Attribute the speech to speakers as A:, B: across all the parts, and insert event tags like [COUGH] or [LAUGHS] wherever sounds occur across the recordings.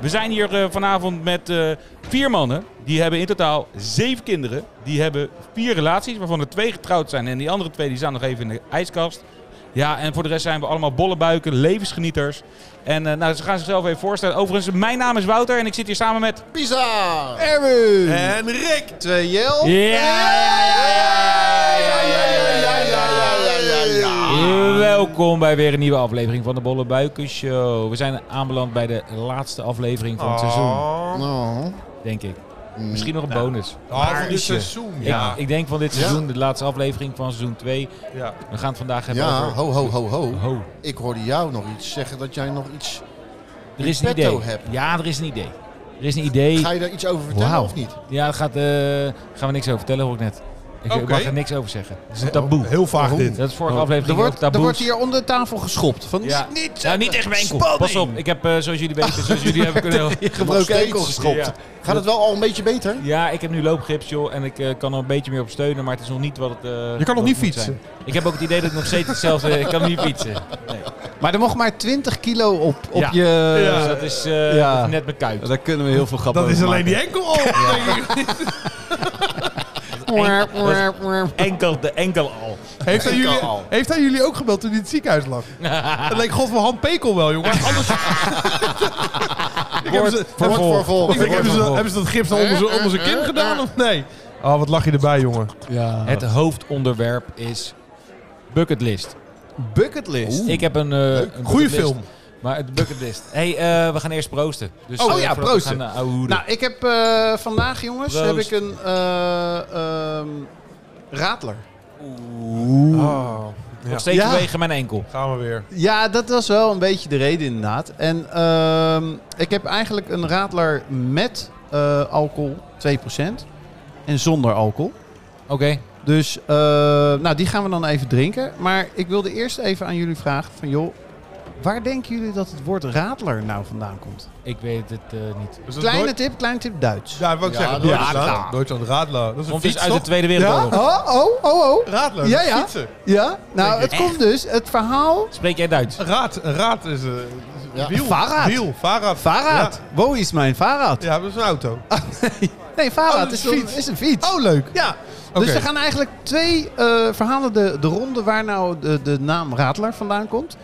A: We zijn hier eh, vanavond met eh, vier mannen. Die hebben in totaal zeven kinderen. Die hebben vier relaties, waarvan er twee getrouwd zijn. En die andere twee die staan nog even in de ijskast. Ja, en voor de rest zijn we allemaal bollebuiken, levensgenieters. En eh, nou, ze gaan zichzelf even voorstellen. Overigens, mijn naam is Wouter en ik zit hier samen met...
B: Pisa!
C: Erwin.
B: En Rick! Twee Jel!
A: Welkom bij weer een nieuwe aflevering van de Bolle Buiken Show. We zijn aanbeland bij de laatste aflevering van het seizoen,
B: Oh,
C: Oh.
A: denk ik. Misschien nog een bonus.
B: van dit seizoen, ja.
A: Ik, ik denk van dit seizoen, de laatste aflevering van seizoen 2.
B: ja.
A: We gaan het vandaag hebben
C: Ja,
A: over...
C: ho, ho, ho, ho.
A: Ho.
C: Ik hoorde jou nog iets zeggen dat jij nog iets...
A: Er is een
C: petto
A: idee.
C: hebt.
A: Ja, er is een idee. Er is een idee.
C: Ga je daar iets over vertellen
A: Wauw.
C: of niet?
A: Ja, daar gaat, eh, gaan we niks over vertellen, hoor ik net. Ik
B: Oké.
A: mag er niks over zeggen. Het is een taboe.
D: Heel vaag dit.
A: Dat is vorige aflevering
C: Er wordt,
A: ook
C: er
A: taboe.
C: wordt hier onder de tafel geschopt. Van
A: Ja.
C: niet
A: Nou, niet echt mijn enkel. Pas op, ik heb, eh, zoals jullie weten, zoals jullie hebben kunnen...
C: gebroken
B: steeds.
C: enkel geschopt.
A: Ja.
C: Gaat het wel al een beetje beter?
A: Ja, ik heb nu loopgips, joh. En ik eh, kan er een beetje meer op steunen, maar het is nog niet wat het... eh,
D: nog
A: wat het
D: niet
A: moet
D: fietsen.
A: zijn. Ik heb ook het idee dat ik nog steeds hetzelfde... ik kan niet fietsen.
E: Maar er mocht maar 20 kilo op, op
A: Ja.
E: je...
A: Dus dat is eh,
E: Ja.
A: net mijn kuit.
E: Daar kunnen we heel veel grappen
D: Dat is alleen die enkel al.
A: Enkel, de enkel al.
D: Heeft hij, jullie,
C: al.
D: heeft hij jullie ook gebeld toen hij in het ziekenhuis lag? dat leek God van Han Pekel wel, jongen. Anders... ik heb ze,
C: Wordt vervolgd.
D: ik denk, hebben, ze,
A: vervolgd.
D: hebben ze dat gips al onder zijn- onder zijn kin gedaan of nee? Ah, wat lach je erbij, jongen.
E: Ja.
A: Het hoofdonderwerp is bucketlist.
E: bucketlist.
A: Ik heb een, eh een
D: Goeie
A: bucketlist,
D: film.
A: Maar het bucketlist. hey, eh, we gaan eerst proosten. Dus,
E: Oh
A: eh,
E: ja,
A: voordat we
E: proosten.
A: gaan, eh, ouwe hoeden.
E: Nou, ik heb eh, vandaag, jongens,
A: Proost.
E: heb ik een eh, ehm, radler.
D: Oh,
A: Nog steeds
E: Ja.
A: wegen mijn enkel.
D: gaan we weer.
E: Ja, dat was wel een beetje de reden inderdaad. En ehm, ik heb eigenlijk een radler met eh, alcohol, 2%. En zonder alcohol.
A: Oké.
E: Dus eh, nou, die gaan we dan even drinken. Maar ik wilde eerst even aan jullie vragen van joh, waar denken jullie dat het woord radler nou vandaan komt?
A: Ik weet het eh, niet.
D: Dus dat is
E: Kleine
D: nooit-
E: tip, kleine tip Duits.
D: Ja, wou ik
C: Ja,
D: zeggen.
C: Deutschland.
D: Duitsland. Duitsland, Radler. Dat is een
A: Komt
D: fiets,
A: dus uit de
D: toch?
A: Tweede Wereldoorlog.
E: Oh, oh, oh, oh.
D: Radler,
E: Ja,
D: dat is
E: ja.
D: fietsen.
E: Ja, nou
D: Denk
E: het komt dus, het verhaal...
A: Spreek jij Duits?
D: Een Raad, een raad is een
C: Ja.
D: wiel.
E: Fahrrad.
D: Wiel, Farad.
E: Varad.
D: Ja.
E: Wo is mijn Varad?
D: Ja, dat is een auto.
E: Nee, Varad
D: Oh, dat
E: is,
D: is
E: een-
D: fiets.
E: is een fiets.
D: Oh, leuk.
E: Ja,
D: Oké.
E: dus er gaan eigenlijk twee eh, verhalen de, de ronde waar nou de, de naam Radler vandaan komt.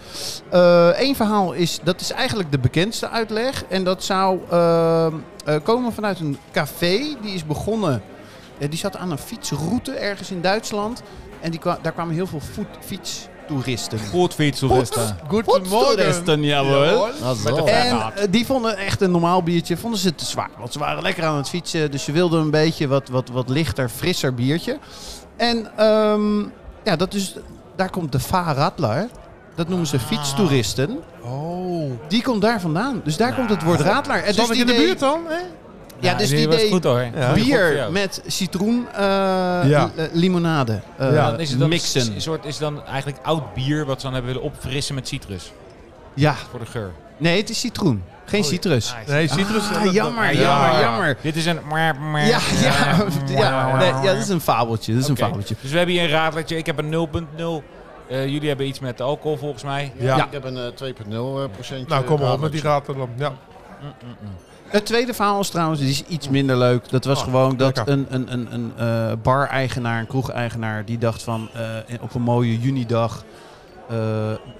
E: Eén verhaal is, dat is eigenlijk de bekendste uitleg. En dat zou ehm, eh, komen vanuit een café. Die is begonnen, eh, die zat aan een fietsroute ergens in Duitsland. En die kwa- daar kwamen heel veel voet, fietstoeristen.
A: Goed fiets, Sylvester.
E: Fietstoeristen, jawel.
C: Nou, zo.
E: En eh, die vonden echt een normaal biertje vonden ze te zwaar. Want ze waren lekker aan het fietsen. Dus ze wilden een beetje wat, wat, wat lichter, frisser biertje. En ehm, ja, dat is, daar komt de Vaarradler. Dat noemen ze fietstoeristen.
D: Oh.
E: Die komt daar vandaan. Dus daar komt het woord radler. En
D: Zat
E: dus
D: ik in de
E: idee-
D: buurt dan? Hè?
E: Ja, dus het
A: Nou, die was
E: idee
A: goed hoor.
D: Ja.
A: Goed voor
E: bier
A: jou.
E: met citroen eh,
D: Ja.
E: eh, limonade eh,
D: Ja,
A: Dan is het dan
E: mixen.
A: Een soort is dan eigenlijk oud bier wat ze dan hebben willen opfrissen met citrus
E: Ja,
A: voor de geur.
E: nee, het is citroen. Geen citrus.
D: Nee, citrus.
E: Ah,
D: dat- dat-
E: jammer,
D: ja.
E: jammer, jammer.
A: Dit is een. Ja,
E: Ja, Eh, [LAUGHS] ja,
A: [LAUGHS]
E: ja, nee, ja, dat is een fabeltje. Dat is
A: Oké.
E: een fabeltje.
A: Dus we hebben hier een raadletje. Ik heb een 0.0. Eh, jullie hebben iets met alcohol volgens mij.
D: Ja.
C: Ik heb een eh, 2,0 procentje.
D: Nou, kom maar op
C: radler.
D: met die raad er dan. Ja.
E: Het tweede verhaal is trouwens, die is iets minder leuk. Dat was
D: Oh,
E: gewoon dat
D: lekker.
E: een, een, een, een eh, bar-eigenaar, een kroeg-eigenaar, die dacht van eh, op een mooie junidag, eh,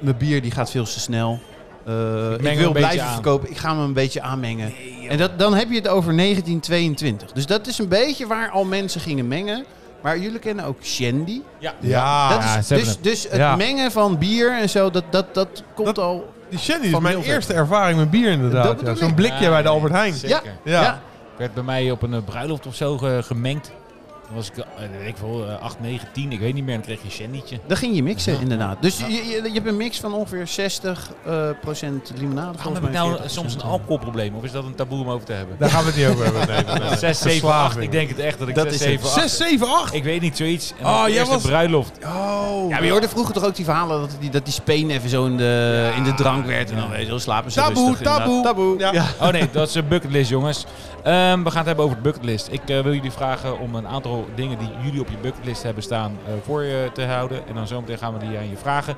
E: mijn bier die gaat veel te snel. Eh,
A: meng
E: ik,
A: hem een
E: wil
A: beetje
E: blijven
A: aan.
E: verkopen, ik ga hem een beetje aanmengen. en dat, dan heb je het over 1922. Dus dat is een beetje waar al mensen gingen mengen. Maar jullie kennen ook Shandy.
A: Ja.
D: Ja.
E: Dat
A: ze
E: is,
A: hebben
E: dus,
A: het.
E: dus het
D: Ja.
E: mengen van bier en zo, dat, dat, dat komt
D: Dat-
E: al...
D: Die Shandy is
E: Van
D: mijn
E: Milver.
D: eerste ervaring met bier
E: Dat
D: inderdaad.
E: bedoel
D: Ja,
E: ik.
D: Zo'n blikje bij de Albert Heijn.
A: Zeker.
E: Ja.
D: Ja.
E: ja,
A: werd bij mij op een eh, bruiloft of zo ge- gemengd. Dan was ik, eh, weet ik veel, eh, 8, 9, 10, ik weet niet meer. Dan kreeg je een shandytje.
E: Dan ging je mixen, inderdaad. Dus je, je, je hebt een mix van ongeveer 60 eh, procent limonade.
A: Waarom
E: volgens
A: heb ik
E: mij
A: nou
E: 40%.
A: soms een alcoholprobleem? Of is dat een taboe om over te hebben?
D: Daar gaan we het niet over hebben. Nee, nee,
A: 6,
D: nee.
A: 7, 8.
D: Nou, Verslaving.
A: Ik denk het echt dat ik
E: Dat
A: 6,
E: is het.
A: 7, 8...
D: 6, 7, 8.
A: Ik weet niet, zoiets. En
D: Oh,
A: oh,
D: jij
A: eerste
D: was-
A: bruiloft.
D: Oh.
E: Ja, maar je hoorde vroeger toch ook die verhalen dat die, dat die speen even zo in de, Eh, in de drank werd. En dan weet je wel, slapen ze
D: Taboe,
E: rustig. inderdaad.
D: taboe.
E: taboe.
D: Ja.
E: Ja.
A: Oh nee, dat is een bucketlist, jongens. Ehm, we gaan het hebben over de bucketlist. Ik eh, wil jullie vragen om een aantal dingen die jullie op je bucketlist hebben staan eh, voor je te houden. En dan zometeen gaan we die aan je vragen.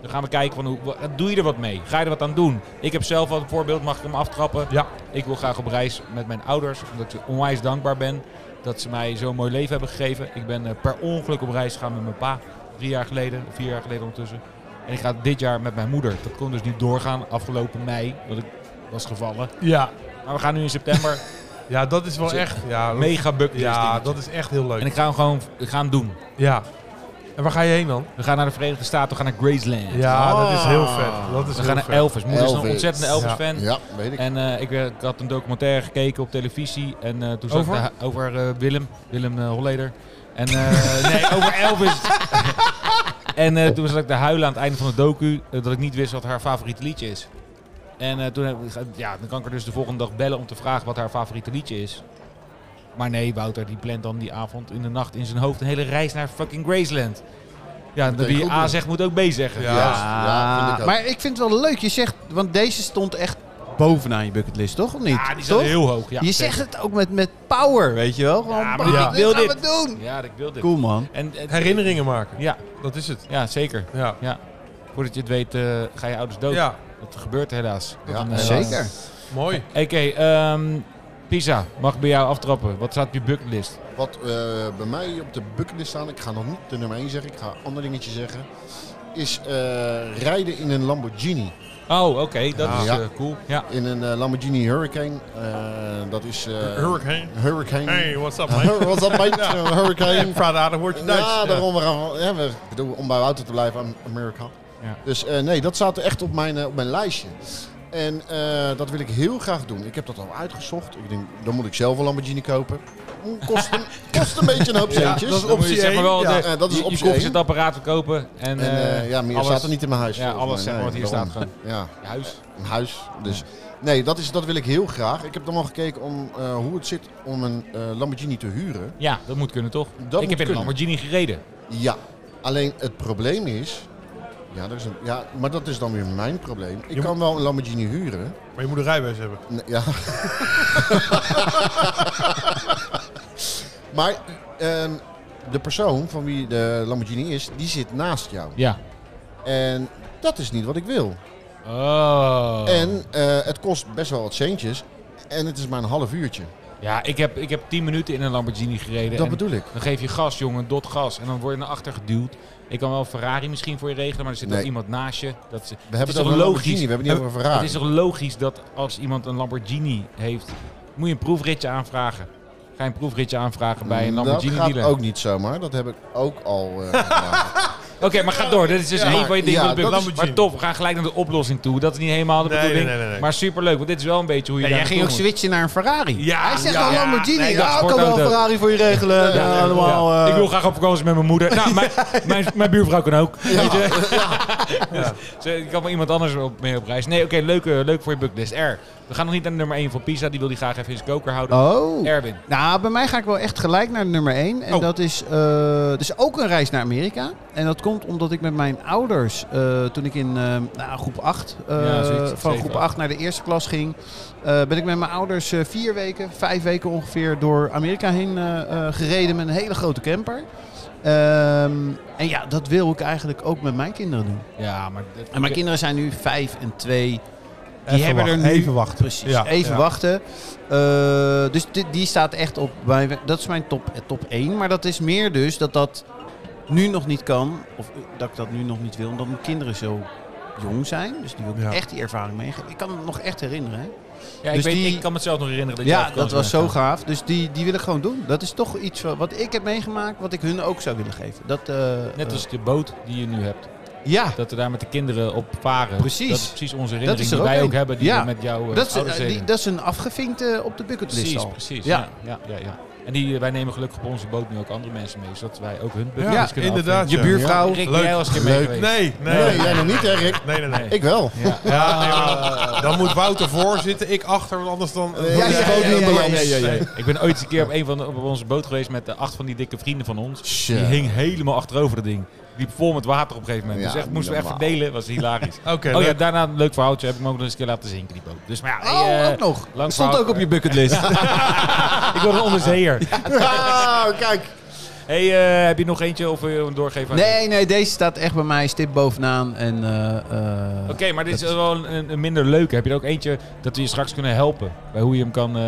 A: Dan gaan we kijken van hoe wa- doe je er wat mee? Ga je er wat aan doen? Ik heb zelf al een voorbeeld, mag ik hem aftrappen?
D: Ja.
A: Ik wil graag op reis met mijn ouders, omdat ik ze onwijs dankbaar ben dat ze mij zo'n mooi leven hebben gegeven. Ik ben eh, per ongeluk op reis gegaan met mijn pa, drie jaar geleden, vier jaar geleden ondertussen. En ik ga dit jaar met mijn moeder. Dat kon dus niet doorgaan afgelopen mei, want ik was gevallen.
D: Ja.
A: Maar Nou, we gaan nu in [LAUGHS] september
D: Ja, dat is wel
A: Zo-
D: echt. Ja,
A: Dus mega bucket list
D: ja
A: dingetje.
D: dat is echt heel leuk.
A: En ik ga hem gewoon ik ga hem doen.
D: Ja. En waar ga je heen dan?
A: We gaan naar de Verenigde Staten, we gaan naar Graceland.
D: Ja,
C: Ah.
D: dat is heel vet. Dat is
A: We
D: heel
A: gaan naar
D: vet.
A: Elvis. Moeder is een
C: Elvis.
A: ontzettende Elvis-fan.
C: Ja, weet ik.
A: En eh, ik, eh, ik had een documentaire gekeken op televisie. En eh, toen zag
D: Over?
A: ik daar- over eh, Willem, Willem eh, Holleder. En eh, nee, over
E: [LAUGHS]
A: Elvis. en eh, toen zat ik te huilen aan het einde van de docu. eh, dat ik niet wist wat haar favoriete liedje is. En eh, toen heb ik, ge- ja, dan kan ik haar dus de volgende dag bellen om te vragen wat haar favoriete liedje is. Maar nee, Wouter die plant dan die avond in de nacht in zijn hoofd een hele reis naar fucking Graceland. Ja,
C: Moet ik
A: wie
C: ook
A: A
C: doen.
A: zegt moet ook B zeggen.
D: Ja.
C: ja, vind ik ook.
E: Ah. maar ik vind het wel leuk. Je zegt, want deze stond echt bovenaan je bucketlist, toch? Of niet?
A: Ja, die
E: toch?
A: staat heel hoog. Ja,
E: je
A: zeker.
E: zegt het ook met, met power, weet je wel? Gewoon,
A: Ja, maar
E: bam, dit
D: ja.
A: ik wil
E: gaan
A: dit.
E: we doen.
A: Ja, ik wil dit.
E: Cool, man.
A: En, en-
D: Herinneringen maken.
A: ja,
D: Dat is het.
A: ja, zeker.
D: Ja.
A: Ja. Voordat je het weet, eh, ga je ouders dood.
D: Ja,
A: Dat gebeurt helaas.
C: Ja,
A: En, eh,
E: Zeker.
D: mooi.
A: Oké, ehm, Pisa, mag ik bij jou aftrappen? Wat staat op je bucketlist?
C: Wat eh, bij mij op de bucketlist staan, ik ga nog niet de nummer 1 zeggen, ik ga ander dingetje zeggen, is eh, rijden in een Lamborghini.
A: Oh, oké, dat is
C: Ja.
A: eh, cool. Ja.
C: In een eh, Lamborghini Hurricane. eh, dat is... eh,
D: Hurricane.
C: Hurricane. [LAUGHS]
D: Hey, what's up, man?
C: Wat dat mate? Een [LAUGHS] Hurricane.
D: Vrijdag, dan hoort je Duits.
C: Ja, daarom we gaan ja, we, ik bedoel, om bij Wouter te blijven aan Amerika.
A: Ja.
C: Dus eh, nee, dat staat echt op mijn, eh, op mijn lijstje. En eh, dat wil ik heel graag doen. Ik heb dat al uitgezocht. Ik denk, dan moet ik zelf een Lamborghini kopen. Hm, Kost
A: [LAUGHS]
C: een, kost een beetje een hoop
D: Ja,
C: centjes.
D: dat is
A: Dan moet je
D: optie
A: zeg maar wel
D: één.
A: de,
C: Ja, eh, dat is
A: je- je,
C: optie
A: koffie
C: één.
A: het apparaat verkopen. En,
C: En eh,
A: eh,
C: ja, meer
A: alles-
C: staat er niet in mijn huis.
A: Ja,
C: volgens
A: alles
C: mij.
A: zeg maar wat hier
C: daarom.
A: staat
C: Ja,
A: Je huis.
C: een huis. Dus nee, dat, is, dat wil ik heel graag. Ik heb dan al gekeken om, eh, hoe het zit om een eh, Lamborghini te huren.
A: Ja, dat moet kunnen toch?
C: moet
A: ik heb in een
C: kunnen.
A: Lamborghini gereden.
C: Ja, alleen het probleem is. Ja, dat is een, ja, maar dat is dan weer mijn probleem. Ik
D: Je
C: kan wel een Lamborghini huren.
D: Maar je moet een rijbewijs hebben.
C: Nee,
A: [LAUGHS]
C: ja. maar ehm, de persoon van wie de Lamborghini is, die zit naast jou.
A: Ja.
C: En dat is niet wat ik wil.
A: Oh.
C: En eh, het kost best wel wat centjes. En het is maar een half uurtje.
A: Ja, ik heb, ik heb 10 minuten in een Lamborghini gereden.
C: dat
A: en-
C: bedoel ik.
A: Dan geef je gas, jongen, dot gas. En dan word je naar achter geduwd. Ik kan wel een Ferrari misschien voor je regelen, maar er zit
C: Nee.
A: ook iemand naast je. Dat is,
C: We hebben
A: is
C: het over
A: toch
C: een Lamborghini,
A: logisch?
C: we hebben het niet over een
A: het
C: Ferrari.
A: is toch logisch dat als iemand een Lamborghini heeft, moet je een proefritje aanvragen. Ga je een proefritje aanvragen bij een Lamborghini
C: dat gaat
A: dealer.
C: ook niet zomaar. Dat heb ik ook al
A: [LAUGHS]
C: eh, gedaan.
A: Oké, maar ga door. Dit is dus
C: Ja,
A: één
C: maar-
A: van je dingen.
C: ja,
A: op de
C: dat
A: bucketlist.
D: is-
A: maar top, we gaan gelijk naar de oplossing toe. Dat is niet helemaal de
D: Nee, nee,
A: bedoeling.
D: nee, nee, nee.
A: Maar superleuk, want dit is wel een beetje hoe je
E: Ja, jij
A: daar
E: ging ook
A: naartoe moet.
E: switchen naar een Ferrari.
A: Ja,
E: Hij zegt
A: ja.
E: al Lamborghini.
A: Nee, ik dacht
E: ja, ik kan wel een
A: sportauto.
E: Ferrari voor je regelen.
A: Ja,
E: Ja,
A: ja,
E: allemaal,
A: ja.
E: eh.
A: Ik wil graag op vakantie met mijn moeder.
E: [LAUGHS]
A: Nou, mijn, mijn, mijn buurvrouw kan ook. Weet je? [LAUGHS] Dus, eh, ik kan wel iemand anders op, mee op reis. Nee, oké, leuk, eh, leuk voor je bucklist. R, we gaan nog niet naar nummer 1 van Pisa. Die wil die graag even in zijn koker houden.
E: Oh.
A: Erwin.
E: Nou, bij mij ga ik wel echt gelijk naar nummer 1. En
A: Oh.
E: dat is eh, dus ook een reis naar Amerika. En dat komt omdat ik met mijn ouders, eh, toen ik in eh, nou, groep 8, eh,
A: Ja, zoiets,
E: van
A: zeven,
E: groep
A: acht.
E: 8 naar de eerste klas ging, eh, ben ik met mijn ouders eh, vier weken, vijf weken ongeveer door Amerika heen eh, eh, gereden met een hele grote camper. Ehm, en ja, dat wil ik eigenlijk ook met mijn kinderen doen.
A: Ja, maar...
E: En mijn kinderen zijn nu vijf en twee. Die
D: Even
E: hebben
D: wachten,
E: er nu...
D: even wachten.
E: Precies,
D: Ja,
E: even
D: ja.
E: wachten. Eh, dus di- die staat echt op... Mijn, dat is mijn top, eh, top 1. Maar dat is meer dus dat dat nu nog niet kan. Of eh, dat ik dat nu nog niet wil. Omdat mijn kinderen zo jong zijn. Dus die wil ik
D: Ja.
E: echt die ervaring meegeven. Ik kan me nog echt herinneren. Hè?
A: ja, ik,
E: dus
A: weet,
E: die-
A: ik kan me het zelf nog herinneren. Dat je op
E: Ja,
A: vakantie
E: dat was
A: bent
E: zo
A: gegaan.
E: gaaf. Dus die, die wil ik gewoon doen. Dat is toch iets wa- wat ik heb meegemaakt. Wat ik hun ook zou willen geven. Dat, eh,
A: Net
E: eh,
A: als de boot die je nu hebt.
E: ja,
A: Dat we daar met de kinderen op varen.
E: Precies.
A: Dat is precies onze herinnering
E: is er
A: die
E: ook
A: wij
E: één.
A: ook hebben. Die
E: Ja.
A: we met jou eh,
E: dat is,
A: ouders
E: eh, die,
A: deden.
E: dat is een afgevinkt eh, op de bucketlist
A: Precies,
E: al.
A: precies.
E: Ja.
A: Ja. Ja, ja, ja. En die, eh, wij nemen gelukkig op onze boot nu ook andere mensen mee. Zodat wij ook hun bucketlist
D: Ja,
A: kunnen
D: inderdaad,
A: afvinken.
D: ja.
A: Je buurvrouw.
D: Ja.
A: Rick,
D: Leuk.
A: jij was een keer mee
C: Leuk.
A: geweest.
D: Nee,
C: Nee,
D: nee.
C: jij nog niet, Erik.
D: Nee, nee, nee.
C: Ik wel.
A: Ja.
D: Ja, nee, maar dan moet Wouter voor zitten, ik achter, want anders dan...
C: Nee, jij zit ook niet in de
D: Nee,
C: land.
D: nee, nee, nee.
A: Ik ben ooit eens een keer op, een van de- op onze boot geweest met de acht van die dikke vrienden van ons.
C: Tja.
A: Die hing helemaal achterover dat ding. Die liep vol met water op een gegeven moment.
C: Ja,
A: dus echt, moesten we echt
C: normaal.
A: verdelen. was hilarisch.
D: Oké,
A: oh ja,
D: leuk.
A: daarna een leuk verhaaltje. Heb ik me ook nog eens een keer laten zinken, die boot. Dus maar ja,
E: Oh,
A: hey, eh,
E: ook nog.
A: lang
E: Stond
A: verhaal-
E: ook op je bucketlist.
A: ik word een onderzeeër.
C: Ah, kijk.
A: Hey, eh, heb je nog eentje of wil je hem doorgeven? aan-
E: Nee, nee, deze staat echt bij mij stip bovenaan. En, eh, eh,
A: Oké, maar dit is
E: dat-
A: wel een, een minder leuke. Heb je er ook eentje dat we je straks kunnen helpen bij hoe je hem kan eh,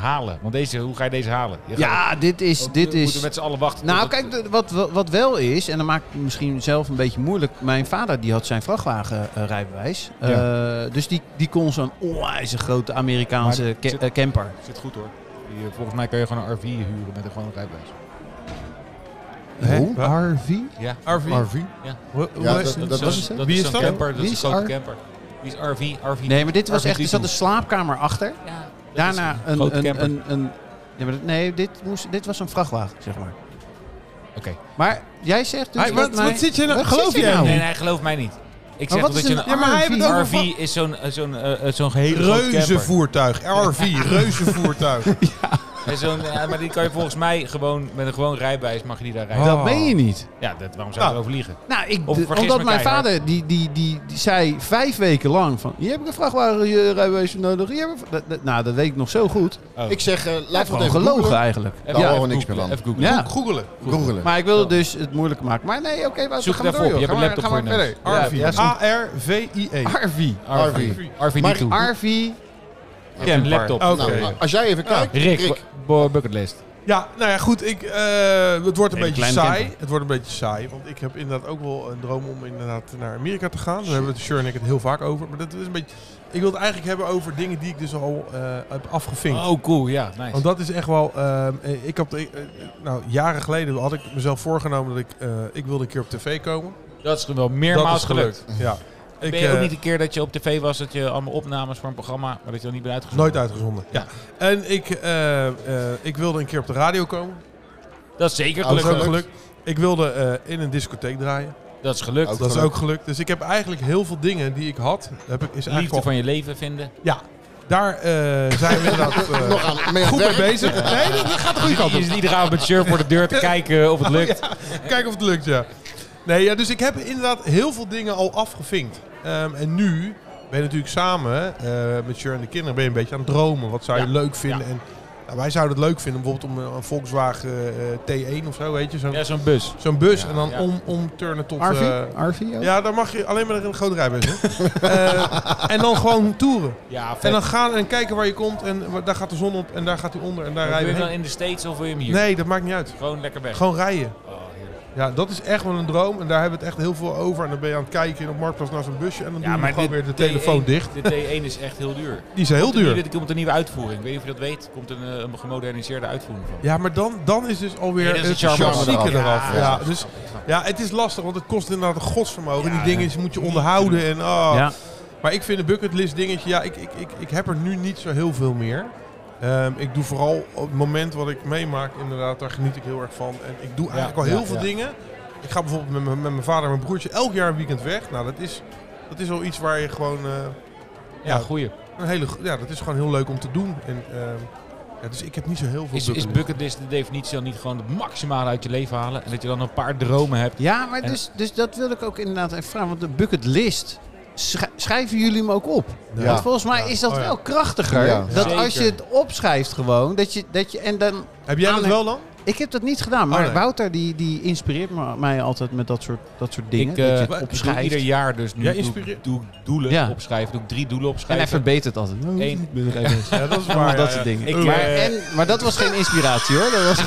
A: halen? Want deze, hoe ga je deze halen? Je gaat-
E: Ja, dit is...
A: want
E: Dit
A: we moeten
E: is
A: met z'n allen wachten.
E: nou,
A: tot het-
E: kijk, de- wat, wat- wat wel is, en dat maakt het misschien zelf een beetje moeilijk. Mijn vader die had zijn vrachtwagenrijbewijs. dus die, die kon zo'n onwijze grote Amerikaanse
A: Maar
E: ca-
A: zit-
E: eh, camper.
A: Zit goed hoor. Die, eh, volgens mij kan je gewoon een RV huren met een gewoon rijbewijs.
D: Hè?
E: Hoe?
D: Wat?
E: RV?
A: Ja.
D: RV.
C: RV.
D: Hoe- hoe
C: Ja,
D: is-
C: dat- dat
A: Zo'n-
C: was
A: dat
D: Wie
A: is
D: is
A: zo'n
D: dat?
A: camper. Dat
E: Wie
A: is
E: is
A: een grote
E: R-
A: camper. Die is RV, RV.
E: Nee, maar dit was echt... Er
A: RV
E: zat een slaapkamer achter.
F: Ja.
E: Daarna een...
A: grote
E: een,
A: camper.
E: een, een- ja, maar dat- nee, dit, moest, dit was een vrachtwagen, zeg maar.
A: Oké.
E: Maar jij zegt dus
D: Hij-
E: dat
D: wat,
E: mij-
D: wat zit je nou?
E: Wat
D: Geloof
E: zit je
D: jij
E: nou?
A: Nee, nee, geloof mij niet. Ik zeg
E: wat
A: toch dat
E: is
A: je
E: een
A: een
D: Ja, maar hij heeft het over
A: RV is zo'n eh, zo'n eh, eh, zo'n hele grote camper.
D: Reuzenvoertuig. RV, reuzenvoertuig.
A: [LAUGHS] En zo'n- ja, maar die kan je volgens mij gewoon met een gewoon rijbewijs mag je die daar rijden.
D: Oh.
E: Dat meen je niet.
A: Ja, dat, waarom zou je
D: Nou.
A: erover liegen?
E: Nou, ik,
A: Of
E: de-
A: vergis
E: omdat
A: me
E: mijn
A: keihard.
E: vader die, die, die, die zei vijf weken lang van... Hier heb ik een vrachtwagenrijbewijs voor nodig. Hier heb ik een vra- dat- dat- nou, dat weet ik nog zo goed.
A: Oh.
C: Ik zeg, eh
E: Hij
C: laat
E: heeft
C: het
E: gewoon
C: even
E: gelogen
C: googlen.
E: eigenlijk.
C: Daar
E: Ja.
C: horen we niks meer
A: Even
C: van.
A: googlen.
E: Ja.
D: Googelen.
C: Googelen.
E: Maar ik wilde dus het moeilijk maken. Maar nee, oké, Wouter,
A: Zoek
E: we
A: het
E: gaan
A: even
E: door.
A: op. Je
E: joh.
A: hebt een laptop
E: Ga maar-
A: voor je
E: ga
A: neus.
E: maar verder.
D: RV.
E: Ja, ja,
D: A-R-V-I-E.
E: RV.
A: RV. RV niet
C: Maar-
A: toe.
E: RV.
A: Ja, een laptop.
D: Oké.
C: Nou, maar als jij even kijkt,
A: Rick,
C: Rick,
A: bo- bucketlist.
D: Ja, nou ja, goed. Ik, eh, het wordt een
E: Hele
D: beetje
E: kleine
D: saai.
E: camper.
D: Het wordt een beetje saai. Want ik heb inderdaad ook wel een droom om inderdaad naar Amerika te gaan. Daar hebben we het Sure en ik het heel vaak over. Maar dat is een beetje... Ik wil het eigenlijk hebben over dingen die ik dus al eh, heb afgevinkt.
A: Oh, cool. Ja, nice.
D: Want dat is echt wel... ehm, eh, ik had, eh, eh, nou, jaren geleden had ik mezelf voorgenomen dat ik... eh, ik wilde een keer op tv komen.
A: Dat is wel
D: dat
A: meermaals
D: is
A: gelukt.
D: Ja. Ik,
A: Mhm. ben je ook
D: eh,
A: niet een keer dat je op tv was, dat je allemaal opnames voor een programma, maar dat je er niet bent uitgezonden?
D: Nooit uitgezonden. Ja. En ik, eh, eh, ik wilde een keer op de radio komen.
A: Dat is zeker
D: Dat is ook
A: gelukt.
D: gelukt. Ik wilde eh, in een discotheek draaien.
A: Dat is gelukt.
C: Ook
D: dat is
C: gelukt.
D: ook gelukt. Dus ik heb eigenlijk heel veel dingen die ik had. Heb ik, is eigenlijk
A: Liefde
D: al-
A: van je leven vinden.
D: Ja, daar eh, zijn we
A: [LAUGHS]
D: inderdaad eh,
C: nog aan mee aan
D: goed
C: het
D: mee
C: werk.
D: bezig. Nee, dat, dat gaat de goede kant
A: Je
D: op.
A: zit iedere avond met shirt voor de deur te kijken of het lukt.
D: Kijken of het lukt, ja. Nee, ja, dus ik heb inderdaad heel veel dingen al afgevinkt. Ehm, en nu ben je natuurlijk samen eh, met Sjur en de kinderen ben je een beetje aan het dromen. Wat zou je
A: Ja.
D: leuk vinden? En, nou, wij zouden het leuk vinden bijvoorbeeld om een, een Volkswagen eh, T1 of zo, weet je. Zo'n
A: Ja, zo'n bus.
D: zo'n bus en dan
A: ja.
D: om, omturnen tot...
E: RV.
D: eh,
E: RV ook.
D: ja, dan mag je alleen maar in een grote rijbewijs. [LAUGHS] hoor. Eh, en dan gewoon toeren.
A: Ja, vet.
D: En dan gaan en kijken waar je komt en wa- daar gaat de zon op en daar gaat hij onder en daar
A: Wil je
D: rijden
A: hem
D: we
A: dan
D: heen.
A: in de States of wil je hem hier?
D: Nee, dat maakt niet uit.
A: Gewoon lekker weg.
D: Gewoon rijden.
A: Oh, heerlijk.
D: Ja, dat is echt wel een droom en daar hebben we het echt heel veel over. En dan ben je aan het kijken en op Marktplaats naar zo'n busje en dan doe je gewoon weer de
A: T1
D: telefoon dicht.
A: De T1 E is echt heel duur.
D: Die is heel duur.
A: Er komt een nieuwe uitvoering. Ik weet niet of je dat weet. Er komt een, eh, een gemoderniseerde uitvoering van.
D: Ja, maar dan, dan is dus alweer
A: Nee, dat is
D: het
A: het charme
D: klassieke
C: eraf.
D: eraf. Ja,
C: Ja,
D: dus, ja, het is lastig, want het kost inderdaad een godsvermogen.
A: Ja,
D: die dingen moet je onderhouden en oh.
E: Ja.
D: Maar ik vind de bucketlist dingetje, ja, ik, ik, ik, ik heb er nu niet zo heel veel meer. Ehm, ik doe vooral op het moment wat ik meemaak, inderdaad, daar geniet ik heel erg van. En ik doe eigenlijk al heel
C: ja,
D: veel
C: ja.
D: dingen. Ik ga bijvoorbeeld met, mijn- met mijn vader en mijn broertje elk jaar een weekend weg. Nou, dat is, dat is wel iets waar je gewoon... eh,
A: Ja, goeie.
D: een hele, go- ja, dat is gewoon heel leuk om te doen. En, ehm, ja, dus ik heb niet zo heel veel
A: Is, is bucketlist de definitie dan niet gewoon het maximale uit je leven halen? En dat je dan een paar dromen hebt?
E: Ja, maar
A: En-
E: dus, dus dat wil ik ook inderdaad even vragen. Want de bucketlist, schri- schrijven jullie hem ook op?
C: Ja.
E: Want volgens mij
D: Ja.
E: is dat
D: Oh, ja.
E: wel krachtiger.
C: Ja.
E: Dat
A: Zeker.
E: als je het opschrijft gewoon, dat je, dat je en dan...
D: Heb jij dat
E: aanleg-
D: wel dan?
E: Ik heb dat niet gedaan, maar
D: Oh, nee.
E: Wouter die, die inspireert me, mij altijd met dat soort, dat soort
A: Ik
E: dingen. dat je
A: eh,
E: het
A: doe
E: opschrijft.
A: ieder jaar dus nu
D: Jij
A: doe, ik-
D: inspireert-
A: doe ik doelen
E: Ja.
A: opschrijven. Doe ik drie doelen
E: en hij
A: opschrijven.
E: verbetert altijd.
A: Eén.
D: Ja, dat is
E: Allemaal
D: waar.
E: dat
D: ja,
E: soort
D: ja.
E: dingen.
A: Ik,
E: maar,
A: eh,
E: en, maar dat was geen inspiratie hoor. Dat was,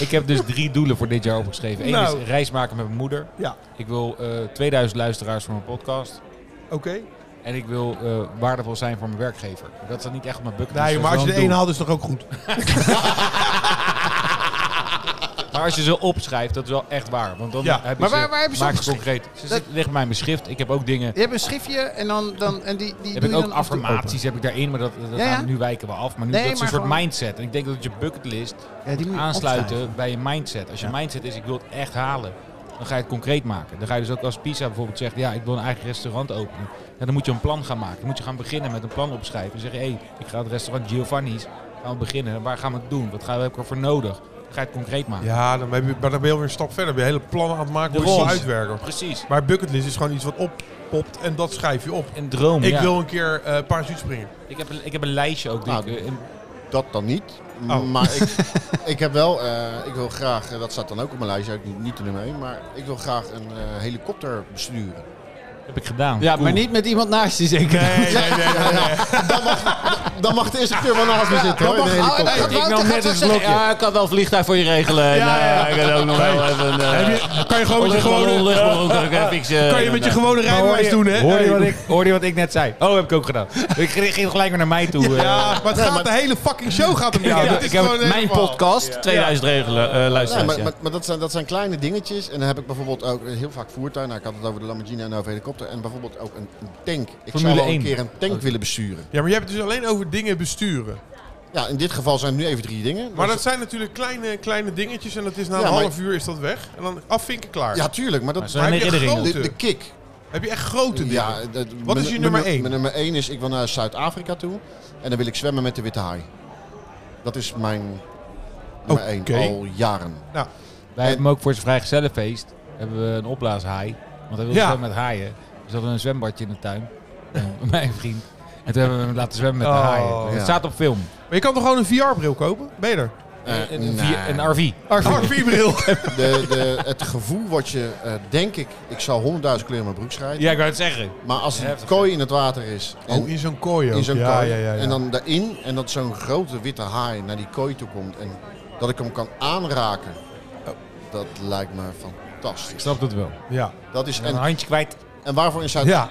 A: Ik heb dus drie doelen voor dit jaar opgeschreven. Eén
D: Nou.
A: is reis maken met mijn moeder.
D: Ja.
A: Ik wil eh, 2000 luisteraars voor mijn podcast.
D: Oké.
A: En ik wil eh, waardevol zijn voor mijn werkgever. Dat is niet echt op mijn bucketlist.
D: Nee,
A: dat
D: maar
A: is
D: als je
A: wel
D: de
A: een doel.
D: één haalt is het toch ook goed?
A: Maar als je ze opschrijft, dat is wel echt waar. Want dan
D: Ja.
A: heb je
E: Maar
A: ze-
E: waar- waar heb je ze
A: maak
E: opgeschreven?
A: concreet. Ze
E: Dat-
A: zit- ligt bij mijn schrift. Ik heb ook dingen.
E: je hebt een schriftje en, dan, dan, en die, die
A: Heb
E: doe
A: ik
E: je
A: ook
E: dan af en toe open.
A: affirmaties heb ik daarin, maar dat, dat
E: Ja, ja.
A: gaan we- nu wijken we af. Maar nu
E: Nee,
A: dat is een
E: maar
A: soort
E: gewoon-
A: mindset. En ik denk dat je bucketlist
E: Ja, die moet je opschrijven.
A: aansluiten bij je mindset. Als je mindset is, ik wil het echt halen, dan ga je het concreet maken. Dan ga je dus ook als Pisa bijvoorbeeld zegt, ja, ik wil een eigen restaurant openen. Ja, dan moet je een plan gaan maken. Dan moet je gaan beginnen met een plan opschrijven. Dan zeg je, hé, ik ga het restaurant Giovanni's, gaan we beginnen. Waar gaan we het doen? Wat gaan we, heb ik ervoor nodig? Dan ga je het concreet maken.
D: Ja, dan ben je, maar dan ben je alweer een stap verder. Ben je hele plannen aan het maken hoe je
A: Daarom.
D: het zal uitwerken.
A: Precies.
D: Maar bucketlist is gewoon iets wat oppopt en dat schrijf je op.
A: En droom,
D: Ik
A: ja.
D: wil een keer eh parachute springen.
A: ik, heb, een- ik heb een lijstje ook. die
C: Nou,
A: ik, eh, in-
C: dat dan niet. M-
D: Oh.
C: Maar ik, ik heb wel, eh, ik wil graag, eh, dat staat dan ook op mijn lijstje, ook niet, niet de nummer 1, maar ik wil graag een eh, helikopter besturen.
A: Heb ik gedaan.
F: Ja, maar niet met iemand naast je zeker.
D: Nee, nee, nee. nee, nee.
C: Dan mag de eerste keer wel naast me zitten
E: Oh,
C: hoor, in een
E: ah,
C: helikopter.
F: ik nam net een blokje. Ja, ik kan wel een vliegtuig voor je regelen. En,
D: Ja, ja.
F: eh, ik kan ook nog wel even... eh,
D: Heb je- Kan je gewoon met je gewone,
F: luchtballon kan ik even fixen.
D: kan je met je gewone
A: Maar hoor je-
D: rijbewijs doen, hè?
A: Hoorde je,
D: Nee.
A: wat ik, hoorde je wat ik net zei? Oh, heb ik ook gedaan. [LAUGHS] Ik ging gelijk weer naar mij toe. eh.
D: Ja, maar het gaat de hele fucking show gaat hem
A: Ja,
D: niet.
A: ik-
D: Dit is
A: ik heb
D: gewoon een
F: Mijn
D: helemaal-
F: podcast, 2000 regelen, eh
C: Nee,
F: luisteraars.
C: maar,
F: ja.
C: maar, maar dat, zijn, dat zijn kleine dingetjes. En dan heb ik bijvoorbeeld ook heel vaak voertuigen. Nou, ik had het over de Lamborghini en over helikopter. En bijvoorbeeld ook een, een tank. Ik
A: Formule
C: zou wel
A: één.
C: een keer een tank willen besturen.
D: Ja, maar je hebt het dus alleen over dingen besturen.
C: Ja, in dit geval zijn er nu even drie dingen.
D: Maar dat zijn natuurlijk kleine, kleine dingetjes en dat is na een
C: Ja, maar-
D: half uur is dat weg. En dan afvinken klaar.
C: Ja, tuurlijk. Maar dat
A: zijn
D: Maar heb je
A: herinneringen.
D: grote-
C: de, de kick.
D: Heb je echt grote dingen?
C: Ja, dat-
D: Wat is je
C: mijn-
D: nummer
C: mijn-
D: één?
C: Mijn nummer één is, ik wil naar Zuid-Afrika toe. En dan wil ik zwemmen met de witte haai. Dat is mijn nummer één.
D: Oké.
C: Al jaren.
A: Wij hebben hem ook voor zijn vrijgezellenfeest. Hebben we een opblaashaai. Want hij wilde
D: Ja.
A: zwemmen met haaien. Dus hadden we een zwembadje in de tuin. Eh, [LAUGHS] mijn vriend. En toen hebben we hem laten zwemmen met de
D: Oh.
A: haaien. Het
C: Ja.
A: staat op film.
D: Maar je kan toch gewoon een VR-bril kopen? Beter.
C: Eh,
A: Een,
C: nou,
A: vier- een RV.
C: [LAUGHS]
D: VR-bril.
C: de, de, het gevoel wat je, eh, denk ik, ik zal 100.000 kleur in mijn broek schrijven.
A: Ja, ik wou het zeggen.
C: Maar als die kooi in het water is. En
D: Oh, in zo'n kooi ook.
C: in zo'n
D: ja,
C: kooi.
D: Ja, ja, ja.
C: En dan daarin. En dat zo'n grote witte haai naar die kooi toe komt. En dat ik hem kan aanraken.
D: Oh.
C: Dat lijkt me
A: Ik
C: fantastisch.
A: snap dat wel.
D: ja.
C: Dat is,
A: Een
C: en,
A: handje kwijt.
C: en waarvoor in Zuid...
D: Ja.
C: [LAUGHS]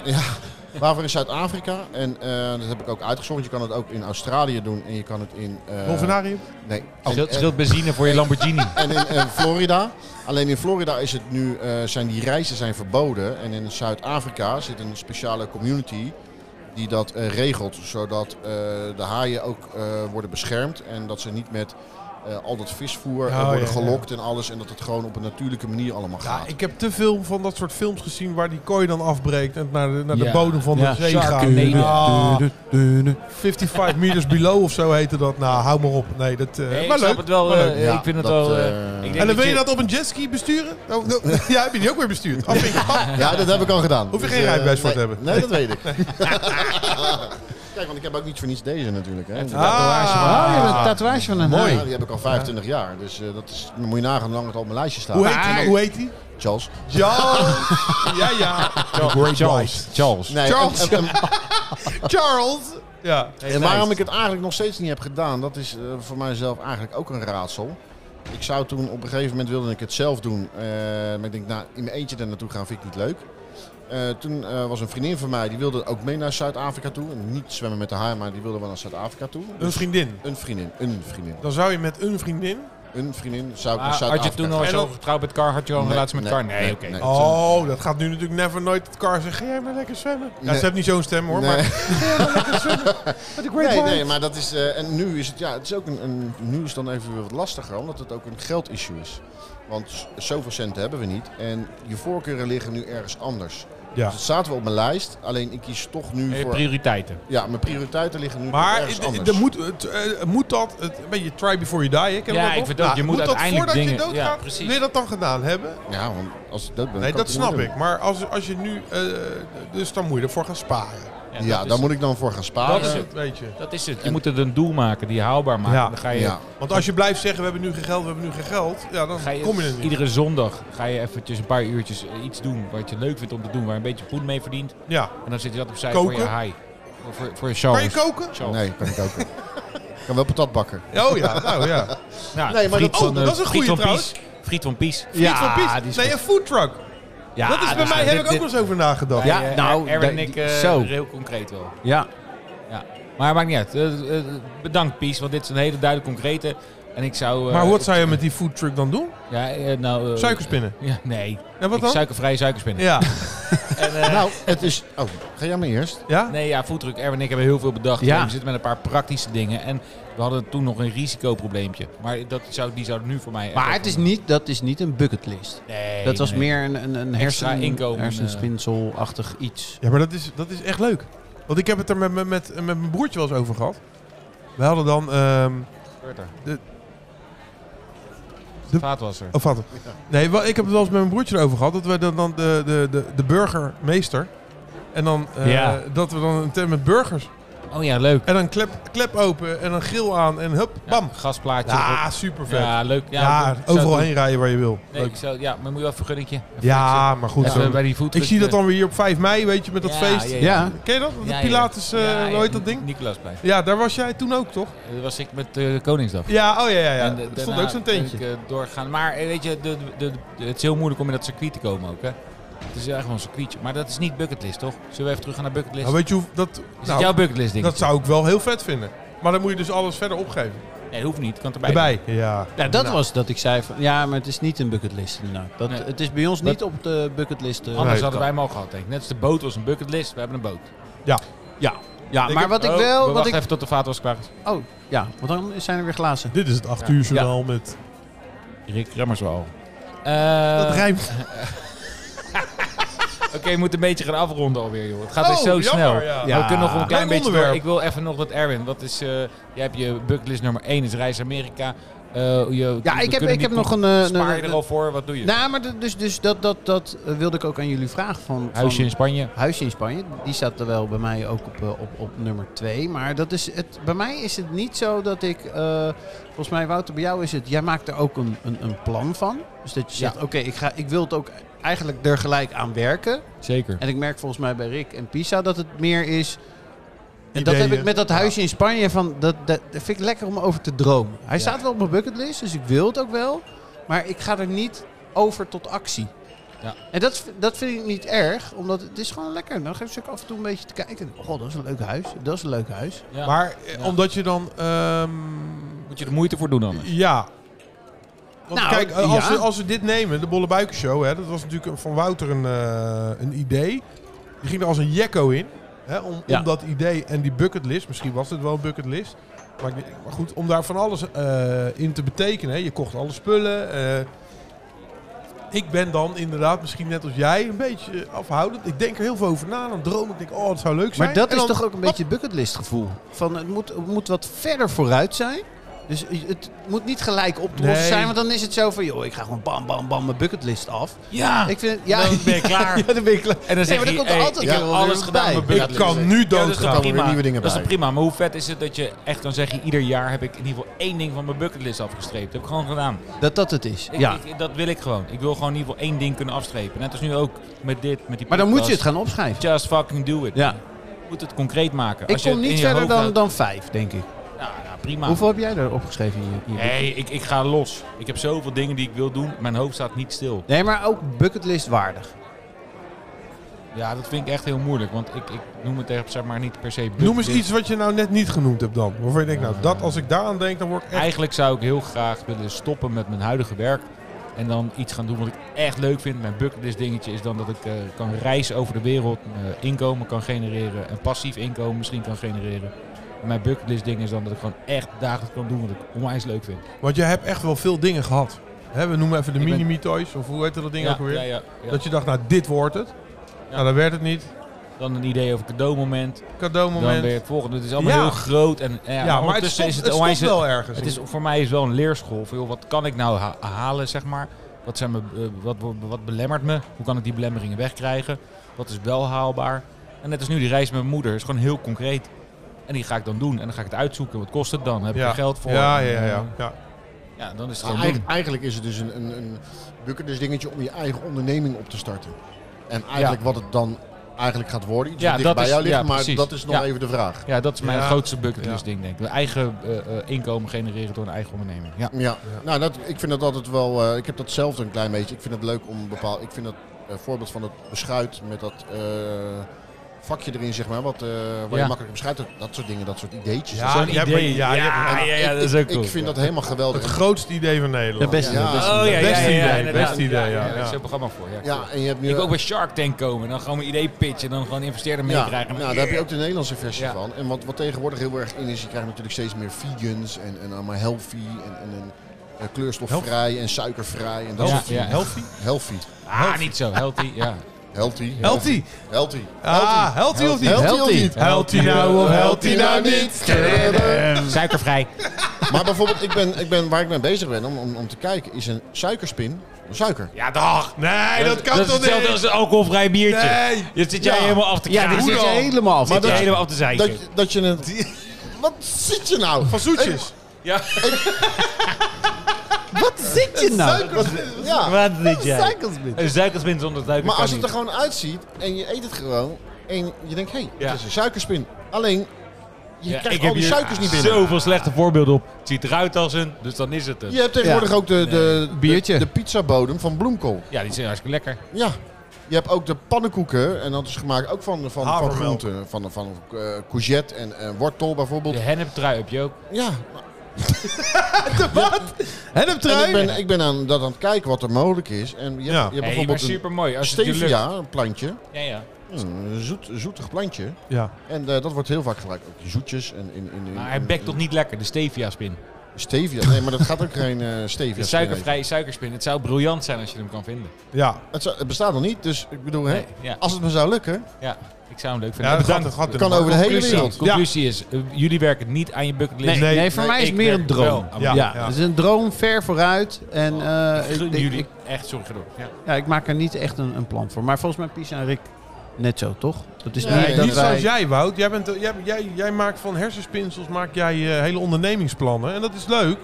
C: Waarvoor in Zuid-Afrika. En eh, dat heb ik ook uitgezocht. Je kan het ook in Australië doen. En je kan het in... eh,
D: Dolfinarium?
C: Nee.
A: Scheelt,
C: En-
A: scheelt benzine
C: [LAUGHS]
A: voor je Lamborghini.
C: en in eh, Florida. Alleen in Florida is het nu, eh, zijn die reizen zijn verboden. En in Zuid-Afrika zit een speciale community die dat eh, regelt. Zodat eh, de haaien ook eh, worden beschermd. En dat ze niet met eh, al dat visvoer eh,
D: Oh,
C: worden
D: ja, ja.
C: gelokt en alles. En dat het gewoon op een natuurlijke manier allemaal
D: Ja,
C: gaat.
D: ik heb te veel van dat soort films gezien waar die kooi dan afbreekt en naar de, naar de
A: Ja.
D: bodem van
F: Ja,
D: de zee gaat.
F: Sharknado.
D: Ah, 55 meters below of zo heette dat. Nou, hou maar op. Nee, dat... eh
A: Nee, ik
D: maar
A: snap
D: leuk.
A: het wel.
D: maar
A: eh,
D: leuk.
C: Ja,
A: ik vind het
C: dat,
A: wel... eh,
C: eh,
A: ik denk
D: En dan wil je
A: je-
D: dat op een jetski besturen? Oh, [LAUGHS] no. Ja, heb je die ook weer bestuurd? Afvinken. pap.
C: Ja, dat heb ik al gedaan.
D: Hoef je
C: Dus,
D: geen
C: eh,
D: rijbewijs voor
C: nee,
D: te hebben.
C: Nee, dat weet ik.
D: [LAUGHS]
C: Kijk, want ik heb ook niet voor niets deze natuurlijk. Hè.
A: En-
E: Oh, je
D: Ah,
E: hebt een tatoeage van een
D: Mooi.
E: haai.
C: Ja, die heb ik al 25 jaar. Dus eh, dat is, dan moet je nagaan hoe lang het al op mijn lijstje staat.
D: Hoe heet die? Hoe heet die?
C: Charles.
D: Charles. ja, ja. Charles.
A: Charles. Charles.
C: Nee,
D: Charles.
C: en- en- en-
D: Charles. Ja.
C: En waarom ik het eigenlijk nog steeds niet heb gedaan, dat is eh, voor mijzelf eigenlijk ook een raadsel. Ik zou toen op een gegeven moment wilde ik het zelf doen. eh, maar ik denk, nou, in mijn eentje daar naartoe gaan vind ik niet leuk. Eh, toen eh, was een vriendin van mij, die wilde ook mee naar Zuid-Afrika toe. En Niet zwemmen met de haai, maar die wilde wel naar Zuid-Afrika toe.
D: Een vriendin.
C: Een vriendin, een vriendin,
D: Dan zou je met een vriendin...
C: een vriendin zou ik
A: Maar Ah,
C: naar
A: had
C: Zuid-Afrika
A: je toen al
D: En
A: zo
D: dat-
A: getrouwd met Car? Had je al een
C: Nee,
A: relatie met
C: nee,
A: Car? Nee,
C: nee,
A: oké.
C: nee.
D: Oh, dat gaat nu natuurlijk never nooit het kar zeggen. Ga jij maar lekker zwemmen. Ja,
C: Nee.
D: ze heeft niet zo'n stem hoor, [LAUGHS]
C: Nee.
D: maar...
C: Nee, nee, maar dat is. eh, en nu is het, ja, het is ook een, een. Nu is dan even weer wat lastiger, omdat het ook een geldissue is. Want z- zoveel centen hebben we niet. En je voorkeuren liggen nu ergens anders.
D: Ja.
C: Dus het staat wel op mijn lijst, alleen ik kies toch nu
A: Eh,
C: voor.
A: Prioriteiten.
C: Ja, mijn prioriteiten liggen nu
D: Maar
C: ergens
D: d- d-
C: anders.
D: d- moet, het, eh, moet dat, het, een beetje try before you die, hè? Ken je
A: Ja,
D: dat
A: ik
D: nog?
A: vind ook, je moet uiteindelijk
D: voordat
A: dingen-
D: je
A: ja,
D: doodgaat,
A: precies.
D: wil je dat dan gedaan hebben?
C: Nou, Ja, want als ik dood ben.
D: Nee,
C: kan
D: dat
C: het niet
D: snap
C: doen.
D: ik. Maar als, als je nu, eh, dus dan moet je ervoor gaan sparen. Eh,
C: Ja, daar moet ik dan voor gaan
A: Dat
C: sparen.
A: is het.
D: Weet je.
A: Dat is het. Je moet het een doel maken die je haalbaar maakt.
D: Ja.
A: Dan ga je,
C: Ja.
D: Want als je blijft zeggen, we hebben nu geen geld, we hebben nu geen geld, ja, dan
A: ga je
D: kom je er niet.
A: iedere zondag ga je eventjes een paar uurtjes eh, iets doen wat je leuk vindt om te doen, waar je een beetje poen mee verdient.
D: Ja.
A: En dan zit je dat opzij
D: Koken?
A: voor je haai. Of Voor, voor je
D: Kan je
A: Charles.
D: koken?
A: Charles.
C: Nee, kan ik
D: [LAUGHS]
C: ook. niet. ik kan wel patat bakken.
D: Oh ja, nou ja.
A: Nou,
C: Nee, maar
A: friet
D: dat-
A: van,
D: oh,
A: eh,
D: dat is een
A: friet
D: goeie
A: van
D: trouwens.
A: Pies. Friet van Pies.
D: Friet van Pies.
F: die is
D: nee,
F: goed.
D: een foodtruck.
F: Ja,
D: dat is bij mij, heb
F: dit-
D: ik ook
F: dit-
D: wel eens over nagedacht.
F: Ja,
A: Wij, eh,
F: nou,
A: Aaron en
F: dat-
A: ik eh,
F: zo.
A: heel concreet wel.
F: Ja,
A: Maar maakt niet uit. Eh, eh, bedankt Pies, want dit is een hele duidelijke concrete. En ik zou... eh,
D: Maar wat zou je met die foodtruck dan doen?
A: Ja, eh, nou... eh,
D: Suikerspinnen.
A: Ja, nee.
D: Ja, wat
A: Ik
D: dan?
A: Suikervrije suikerspinnen.
F: [LAUGHS]
D: Ja.
A: En, eh,
C: Nou, het is. Oh, ga jij maar eerst?
D: Ja?
A: Nee, ja, voetdruk. Erwin en ik hebben heel veel bedacht.
F: Ja.
A: We zitten met een paar praktische dingen. En we hadden toen nog een risicoprobleempje. Maar dat zou, die zou nu voor mij... echt
E: Maar
A: wel
E: het is
A: van-
E: niet, dat is niet een bucketlist.
A: Nee,
E: Dat was
A: nee.
E: meer een, een, een
A: Extra
E: hersen,
A: inkomen,
E: hersenspinselachtig iets.
D: Ja, maar dat is, dat is echt leuk. Want ik heb het er met, met, met, met mijn broertje wel eens over gehad. We hadden dan... ehm, De-
A: Vaatwasser.
D: oh, vatten. Nee, wel- ik heb het wel eens met mijn broertje erover gehad. Dat we dan, dan de, de, de, de burgermeester... En dan eh,
F: Ja.
D: dat we dan een tent met burgers
A: Oh ja, leuk.
D: En dan klep, klep open en dan grill aan en hup, bam.
G: Gasplaatje.
D: Ja, super vet. Ja,
A: Ja, leuk. Ja, ik zou
D: overal
A: het
D: heen rijden waar je wil.
A: doen. Nee,
D: Leuk.
A: ik zou, ja, maar moet je wel een vergunningje.
D: Ja, maar goed.
A: Even
D: zo.
A: bij die voet.
D: Ik zie dat dan weer hier op 5 mei, weet je, met dat
A: Ja,
D: feest.
A: ja,
E: Ja.
D: Ken je dat? Dat
A: Ja, ja.
D: Pilatus, eh,
A: Ja,
D: hoe heet
A: ja,
D: dat ding?
A: Nicolaas
D: Ja, daar was jij toen ook, toch?
A: Dat was ik met eh, Koningsdag.
D: Ja, oh ja, ja, ja.
A: de-
D: er stond
A: daarna
D: ook zo'n
A: ben
D: tentje.
A: Ik, eh, doorgaan. Maar eh, weet je, de, de, de- het is heel moeilijk om in dat circuit te komen ook. Hè? Het is eigenlijk wel een circuitje. Maar dat is niet bucketlist, toch? Zullen we even terug gaan naar bucketlist?
D: Nou, weet je hoe, dat,
A: is
D: nou,
A: het jouw bucketlist ding?
D: dat zou ik wel heel vet vinden. Maar dan moet je dus alles verder opgeven.
A: Nee, hoeft niet. Kan erbij.
D: Erbij. Ja.
E: Ja, dat
A: Nou.
E: was dat ik zei van ja, maar het is niet een bucketlist inderdaad. Dat,
A: Nee.
E: Het is bij ons niet op de bucketlist. eh,
A: Anders
D: Nee,
A: hadden
D: kan.
A: wij hem al gehad, denk ik. Net als de boot was een bucketlist. We hebben een boot.
E: ja, ja
D: Ik
E: maar
D: heb-
E: wat ik
A: Oh,
E: wel.
A: we
E: Wat
A: wachten
E: ik,
A: even Dus- tot de vaat was klaar is.
E: oh, ja, want dan zijn er weer glazen.
D: Dit is het 8 uur journaal met...
A: Eh, Rick Remmers wel.
D: Dat
A: Oké,
D: rijmt.
A: we moeten een beetje gaan afronden alweer, joh. Het gaat
D: Oh,
A: weer zo
D: jammer,
A: snel.
D: ja.
A: We kunnen nog een klein
D: Lang
A: beetje
D: onderwerp.
A: door. Ik wil even nog dat Erwin. Wat is... eh, jij hebt je bucketlist nummer 1 is Reis Amerika. Eh, je,
E: Ja,
A: we
E: ik heb,
A: kunnen
E: ik heb
A: niet-
E: nog een. eh,
A: Spaar je
E: een-
A: er al voor? Wat doe je?
E: Nou, maar d- dus, dus dat, dat, dat eh, wilde ik ook aan jullie vragen. Van, van-
A: Huisje in Spanje.
E: Huisje in Spanje, die staat er wel bij mij ook op, eh, op, op nummer 2. Maar dat is het, bij mij is het niet zo dat ik. eh, volgens mij, Wouter, bij jou is het. Jij maakt er ook een, een, een plan van. Dus dat je zegt: oké, ik ik, ik wil het ook eigenlijk er gelijk aan werken.
A: Zeker.
E: En ik merk volgens mij bij Rick en Pisa dat het meer is. En dat
D: Ideeën.
E: heb ik met dat huisje in Spanje. Van, dat, dat, dat vind ik lekker om over te dromen. Hij staat wel op mijn bucketlist, dus ik wil het ook wel. Maar ik ga er niet over tot actie.
A: Ja.
E: En dat, dat vind ik niet erg, omdat het is gewoon lekker. Dan geef ik ook af en toe een beetje te kijken. Oh, dat is een leuk huis. Dat is een leuk huis.
A: Ja.
D: Maar eh,
A: Ja.
D: omdat je dan... ehm,
A: moet je er moeite voor doen anders.
D: Ja. Want
E: Nou,
D: kijk, als,
E: ja.
D: we, als we dit nemen, de Bolle Buikenshow, hè, dat was natuurlijk een- van Wouter een, eh, een idee. Die ging er als een jekko in. Hè, om,
E: Ja.
D: om dat idee en die bucketlist, misschien was het wel een bucketlist. Maar, ik weet- maar goed, om daar van alles eh, in te betekenen. hè. Je kocht alle spullen. eh. ik ben dan inderdaad, misschien net als jij, een beetje eh, afhoudend. Ik denk er heel veel over na. Dan droom ik, denk, oh, het zou leuk zijn.
E: Maar dat
D: En
E: is
D: dan-
E: toch ook een beetje bucketlist gevoel. Van het moet, het moet wat verder vooruit zijn. Dus het moet niet gelijk op te lossen
D: Nee.
E: zijn. Want dan is het zo van, joh, ik ga gewoon bam, bam, bam mijn bucketlist af.
A: Ja.
E: Ik vind, [LAUGHS] ja,
A: Ah, Dan ben je klaar.
E: Ja, dan ben je klaar.
A: en dan
E: Nee,
A: zeg
E: maar
A: je,
E: er komt
A: hey,
E: altijd
A: ik heb
E: wel weer
A: alles
E: wat
A: gedaan.
E: bij.
A: met
D: Ik kan nu
A: Ja, dat is toch
D: doodgaan.
C: weer
A: prima.
C: nieuwe dingen
A: dat is
C: bij.
A: toch prima. Maar hoe vet is het dat je echt dan zeg je ieder jaar heb ik in ieder geval één ding van mijn bucketlist afgestreept. Dat heb ik gewoon gedaan.
E: Dat dat het is,
A: Ik-
E: ja.
A: ik- dat wil ik gewoon. Ik wil gewoon in ieder geval één ding kunnen afstrepen. Net als nu ook met dit, met die
E: Maar dan moet je het
A: podcast.
E: gaan opschrijven.
A: Just fucking do it.
E: Ja.
A: Je moet het concreet maken.
E: Ik
A: Als je
E: kom
A: het in
E: niet
A: je
E: verder
A: hoofd
E: dan,
A: houdt-
E: dan vijf, denk ik.
A: Nou, nou, prima.
E: Hoeveel heb jij er opgeschreven in je, in je boek?
A: Nee, ik, ik ga los. Ik heb zoveel dingen die ik wil doen. Mijn hoofd staat niet stil.
E: Nee, maar ook bucketlist waardig.
A: Ja, dat vind ik echt heel moeilijk. Want ik, ik noem het echt zeg maar niet per se
D: Noem eens
A: bucketlist.
D: iets wat je nou net niet genoemd hebt dan. Waarvan je denkt, nou, dat, als ik daaraan denk, dan word ik echt...
A: Eigenlijk zou ik heel graag willen stoppen met mijn huidige werk. En dan iets gaan doen wat ik echt leuk vind. Mijn bucketlist dingetje is dan dat ik eh, kan reizen over de wereld. eh, inkomen kan genereren. En passief inkomen misschien kan genereren. En mijn bucketlist ding is dan dat ik gewoon echt dagelijks kan doen wat ik onwijs leuk vind.
D: Want jij hebt echt wel veel dingen gehad. Hè, we noemen even de
A: Ik ben-
D: mini-me-toys, of hoe heette dat ding
A: ja,
D: ook alweer?
A: Ja, ja, ja.
D: Dat je dacht, nou, dit wordt het. Nou, dat werd het niet.
A: Dan een idee over cadeaumoment. Dan
D: Cadeaumoment.
A: weer het volgende. Het is allemaal
D: Ja.
A: heel groot. En, eh,
D: Ja,
A: maar
D: maar het
A: ondertussen
D: stopt,
A: is
D: het
A: het onwijs...
D: stopt wel ergens.
A: Het is, voor mij is wel een leerschool. Van, joh, wat kan ik nou ha- halen, zeg maar? Wat, zijn mijn, eh, wat, wat, wat belemmert me? Hoe kan ik die belemmeringen wegkrijgen? Wat is wel haalbaar? En net als nu, die reis met mijn moeder is gewoon heel concreet. En die ga ik dan doen. En dan ga ik het uitzoeken. Wat kost het dan? Heb ik
D: Ja.
A: er geld voor?
D: Ja,
A: En,
D: ja,
A: eh,
D: ja. ja.
A: ja, dan is het
C: Ja,
A: gewoon
C: eigen-
A: doen.
C: eigenlijk is het dus een, een, een bucketlist dingetje om je eigen onderneming op te starten. En eigenlijk wat het dan eigenlijk gaat worden. Iets
A: Ja,
C: wat dicht
A: dat
C: bij
A: is-
C: jou ligt,
A: ja,
C: maar
A: precies.
C: dat is nog
A: Ja.
C: even de vraag.
A: Ja, dat is mijn
D: Ja.
A: grootste bucketlist ding, denk ik. Mijn eigen eh, eh, inkomen genereren door een eigen onderneming. Ja.
C: Ja, nou dat, ik vind dat altijd wel, eh, ik heb dat zelf een klein beetje. Ik vind het leuk om bepaald, ik vind dat eh, voorbeeld van het beschuit met dat eh, vakje erin zeg maar, wat, eh, waar
A: Ja.
C: je makkelijk beschuit, dat, dat soort dingen, dat soort ideetjes.
D: Ja,
A: Dus Zo'n
D: je hebt-
A: idee.
D: ja, je hebt-
A: ja, ja, dat is ook
C: ik,
A: cool.
C: ik vind dat helemaal
D: Het
C: geweldig.
D: grootste idee van
E: De
D: Nederland.
E: beste.
C: Ja.
E: de beste.
A: Oh ja,
D: Best
A: ja,
D: idee,
A: ja, ja,
D: best
A: inderdaad.
D: idee, ja,
A: Daar
D: ja.
A: is zo'n programma voor. Ja,
C: Ja, en je hebt nu
A: Ik ook bij Shark Tank komen. Dan gewoon mijn idee pitchen. Dan gewoon investeerder
C: Ja,
A: meekrijgen.
C: nou, daar heb je ook de Nederlandse versie
A: Ja.
C: van. En wat, wat tegenwoordig heel erg in is, je krijgt natuurlijk steeds meer vegans en, en allemaal healthy en, en, en eh, kleurstofvrij en suikervrij en dat
A: Ja,
C: soort dingen.
A: ja.
D: Healthy?
C: Healthy.
A: Ah, niet zo. Healthy, ja.
C: Healthy.
D: Healthy.
C: Healthy.
D: Ah, healthy of niet?
C: Healthy of niet?
D: Healthy nou of healthy nou niet?
A: Suikervrij.
C: Mm. Maar bijvoorbeeld, ik ben, ik ben, waar ik mee bezig ben om, om, om te kijken, is een suikerspin Suiker.
A: Ja, dag.
D: Nee, dat kan
A: dat is
D: toch
A: hetzelfde
D: niet?
A: als een alcoholvrij biertje.
D: Nee.
A: Dit zit jij
C: Ja.
A: helemaal af te
E: Ja,
A: kijken.
E: dit
A: Ja,
E: zit je helemaal af.
A: zit
E: Maar
A: jij
E: dat-
A: helemaal af te zeiken.
C: Dat, dat je het... [LAUGHS] Wat zit je nou?
D: Van zoetjes.
A: ja.
E: Wat zit je nou?
C: Wat- Ja,
A: Wat zit jij?
E: Suikelsbit.
A: Een suikerspin zonder duiken
C: maar
A: kan
C: als het
A: niet.
C: er gewoon uitziet en je eet het gewoon en je denkt, hé, hey,
A: Ja.
C: het is een suikerspin. Alleen, je
A: Ja,
C: krijgt
A: heb
C: al die
A: hier
C: suikers niet binnen.
A: zoveel slechte voorbeelden op. Het ziet eruit als een, dus dan is het een.
C: Je hebt tegenwoordig ook de, de,
E: Biertje.
C: de, de pizzabodem van bloemkool.
A: Ja, die zijn hartstikke lekker.
C: Ja. Je hebt ook de pannenkoeken, en dat is gemaakt ook van, van, van
D: Havermelk.
C: groenten. Van, van eh, courgette en eh, wortel bijvoorbeeld.
A: De henneptrui heb je ook.
C: Ja. En ik
E: Henneptrui.
C: ben, ik ben aan, dat aan het kijken wat er mogelijk is. En je hebt,
D: Ja.
C: je hebt
A: Nee, maar
C: bijvoorbeeld een
A: super mooi. Als het je lukt.
C: stevia, een plantje.
A: Ja, ja.
C: Een zoet, zoetig plantje.
D: Ja.
C: En eh, dat wordt heel vaak gebruikt. Ook in zoetjes en in... in, in
A: Maar hij
C: in-
A: bekt toch niet lekker, de stevia-spin.
C: Stevia. Nee, maar dat gaat ook geen eh stevia.
A: De suikervrije suikerspin. Het zou briljant zijn als je hem kan vinden.
D: Ja.
C: Het, zou- het bestaat nog niet, dus ik bedoel,
A: Nee,
C: hè,
A: ja.
C: als het me zou lukken,
A: ja, ik zou hem leuk
D: Ja,
A: vinden.
D: dat gaat,
A: Bedankt.
D: dat gaat
C: kan over de hele wereld.
A: Conclusie is, eh, jullie werken niet aan je bucketlist.
E: Nee,
D: Nee,
E: nee, voor
C: nee,
E: mij is
A: ik
E: het meer een
A: werk
E: droom.
A: wel aan
E: Ja, ja.
D: Ja,
E: Dus
D: ja.
E: het is een droom ver vooruit. En eh,
A: Ik gun
E: ik, ik,
A: jullie
E: ik,
A: echt zorgen door. Ja.
E: ja, ik maak er niet echt een, een plan voor. Maar volgens mij Pisa en Rick net zo, toch? Dat is
C: Nee,
E: niet dat
D: Niet
E: wij...
D: zoals jij, Wout. Jij, bent, eh, jij, jij, jij maakt van hersenspinsels maak jij, eh, hele ondernemingsplannen. En dat is leuk.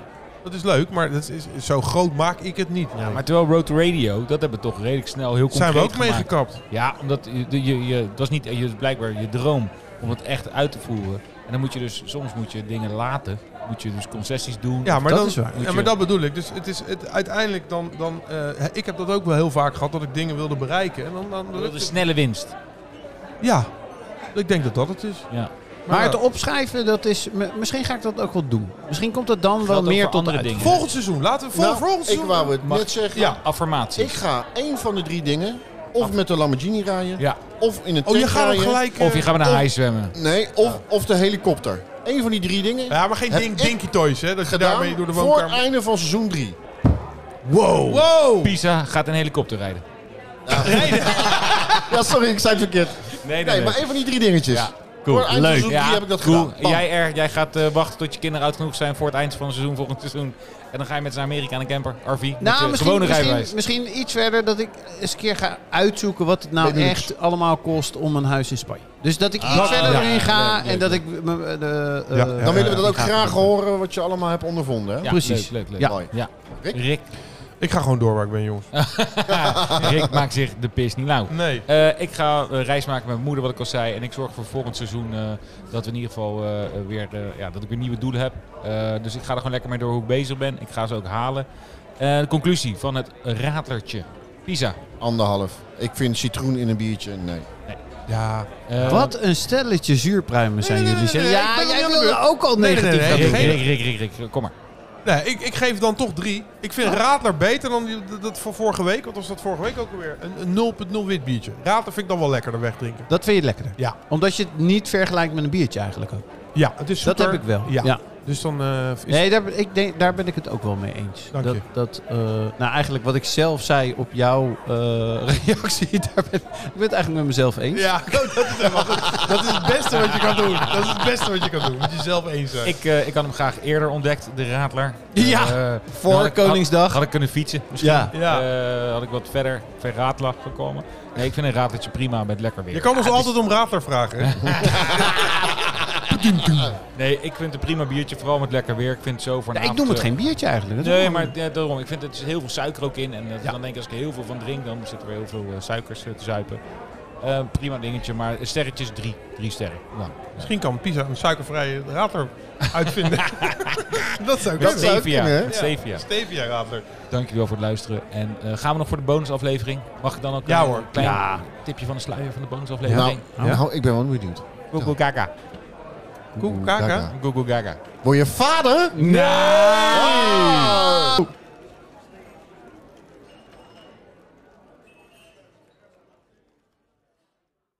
D: Dat is leuk, maar dat is, is- zo groot maak ik het
E: Nou,
D: niet.
A: Maar terwijl Road to Radio, dat hebben we toch redelijk snel heel concreet
D: zijn we ook
A: gemaakt.
D: meegekapt.
A: Ja, omdat je, de- je, je, dat is niet je, blijkbaar je droom om het echt uit te voeren. En dan moet je dus, soms moet je dingen laten. Moet je dus concessies doen.
D: Ja, maar
E: Dat
D: dat,
E: is waar.
D: Ja, maar dat bedoel ik. Dus het is het, uiteindelijk dan... dan eh, ik heb dat ook wel heel vaak gehad, dat ik dingen wilde bereiken. En dan, dan,
A: Je wil de snelle winst.
D: Ja, ik denk dat dat het is.
A: Ja.
E: Maar het
D: ja,
E: opschrijven, dat is... m- Misschien ga ik dat ook wel doen. Misschien komt dat dan wel
A: ook
E: meer
A: voor
E: tot
A: andere
E: uit.
A: dingen.
D: volgend seizoen. Laten we vol,
C: Nou,
D: volgend
C: ik
D: seizoen...
C: wou het
A: Mag-
C: net zeggen.
D: Ja.
A: Affirmatie.
C: Ik ga één van de drie dingen, of met de Lamborghini rijden,
A: Ja.
C: of in een
D: Oh, je
C: tank
D: gaat hem
C: rijden.
D: gelijk... eh,
A: Of je gaat maar naar
C: Of-
A: hij zwemmen.
C: Nee, of, of de helikopter. Eén van die drie dingen
D: eh, Ja, maar geen
C: Heb
D: ding,
C: ik
D: dinky toys, hè. Dat je daarmee door
C: gedaan
D: de
C: voor
D: woonkamer... Oh.
C: het einde van seizoen 3.
D: Wow! Wow!
A: Pisa gaat een helikopter rijden.
C: Ja, sorry, ik zei het verkeerd.
A: Nee,
C: Nee, maar één van die drie dingetjes.
A: Ja,
C: Voor het einde van seizoen 3
A: Ja,
C: heb ik dat
A: cool.
C: gedaan. Bam.
A: Jij, er, jij gaat eh, wachten tot je kinderen oud genoeg zijn voor het eind van het seizoen, volgend seizoen. En dan ga je met ze naar Amerika in een camper, RV. met
E: Nou,
A: je
E: misschien,
A: gewone
E: misschien,
A: rijbewijs.
E: misschien iets verder dat ik eens een keer ga uitzoeken wat het nou
C: Benelux.
E: echt allemaal kost om een huis in Spanje. Dus dat ik iets
C: Ah,
E: verder
C: ja.
E: erin ga
C: Leuk, leuk,
E: en dat ik... me- me- de, eh,
D: Ja.
E: eh,
C: Dan willen we dat ook
E: die ga
C: graag
E: doen.
C: horen wat je allemaal hebt ondervonden. Hè?
A: Ja, Leuk,
E: precies.
A: leuk, leuk.
E: Ja.
C: Mooi.
A: Ja.
C: Rick?
A: Rick,
D: Ik ga gewoon door waar ik ben, jongens.
A: Rick maakt zich de pis niet lauw.
D: Nee.
A: Eh, ik ga eh, reis maken met mijn moeder, wat ik al zei. En ik zorg voor volgend seizoen eh, dat we in ieder geval eh, eh, weer, eh, ja, dat ik weer nieuwe doelen heb. Eh, dus ik ga er gewoon lekker mee door hoe ik bezig ben. Ik ga ze ook halen. Eh, de conclusie van het ratlertje. Pisa.
C: Anderhalf. Ik vind citroen in een biertje, nee.
D: Ja.
A: Eh,
E: Wat een stelletje zuurpruimen zijn
D: Nee, nee,
E: jullie.
D: nee,
E: zeg.
D: nee, ik
E: ja,
D: ben
E: jij
D: niet aan de
E: wilde ook al
D: Nee, nee,
E: negatief
D: nee,
E: gaan
A: Rick,
E: doen.
A: Rick, Rick, Rick, Rick, kom maar.
D: Nee, ik, ik geef dan toch drie. Ik vind Radler beter dan die- dat- dat van vorige week. Wat was dat vorige week ook alweer? Een, een 0.0 wit biertje. Radler vind ik dan wel lekkerder wegdrinken.
E: Dat vind je lekkerder.
D: Ja.
E: Omdat je het niet vergelijkt met een biertje eigenlijk ook.
D: Ja, het is
E: Dat
D: zoeter.
E: heb ik wel.
D: Ja.
E: Ja.
D: Dus dan eh, is
E: Nee, daar, ben- ik denk, daar ben ik het ook wel mee eens.
D: Dank
E: dat,
D: je.
E: Dat, eh, nou, eigenlijk wat ik zelf zei op jouw eh, [LAUGHS] reactie, daar ben, ik ben het eigenlijk met mezelf eens.
D: Ja, [LAUGHS] dat is, helemaal goed. dat is het beste wat je kan doen. Dat is het beste wat je kan doen. Moet je zelf eens zijn.
A: Ik, eh, ik had hem graag eerder ontdekt, de Radler.
E: [LAUGHS] Ja,
A: Eh, dan
E: voor
A: had ik-
E: Koningsdag.
A: Had, had ik kunnen fietsen misschien.
E: Ja.
D: Ja.
A: Eh, had ik wat verder ver Radler gekomen. Nee, ik vind een Radlertje prima met lekker weer.
D: je kan ons
A: Ah, het is-
D: altijd om Radler vragen. hè?
A: Nee, ik vind het een prima biertje, vooral met lekker weer. Ik vind het zo voor een
E: Nee,
A: avond,
E: ik noem het
A: eh,
E: geen biertje eigenlijk. Dat is
A: Nee,
E: ook wel-
A: maar ja, daarom. Ik vind het er zit heel veel suiker ook in. En eh, dan denk ik, als ik er heel veel van drink, dan zit er weer heel veel eh, suikers eh, te zuipen. Eh, prima dingetje, maar sterretjes drie. Drie sterren. Nou,
D: Misschien kan Pisa een suikervrije Radler uitvinden. dat zou
A: met
D: kunnen.
C: zou
A: stevia.
C: ook kunnen, hè?
A: Met
D: Ja.
A: stevia.
D: Stevia Radler.
A: Dankjewel voor het luisteren. En eh, gaan we nog voor de bonusaflevering? Mag ik dan ook
D: Ja,
A: een
D: hoor.
A: klein
E: Ja.
A: tipje van de sluier van de
C: Nou,
A: bonusaflevering?
C: nou, ik ben wel benieuwd.
A: Google Gaga.
D: Koekoekaka.
A: Google Gaga.
C: Word je vader?
A: Nee!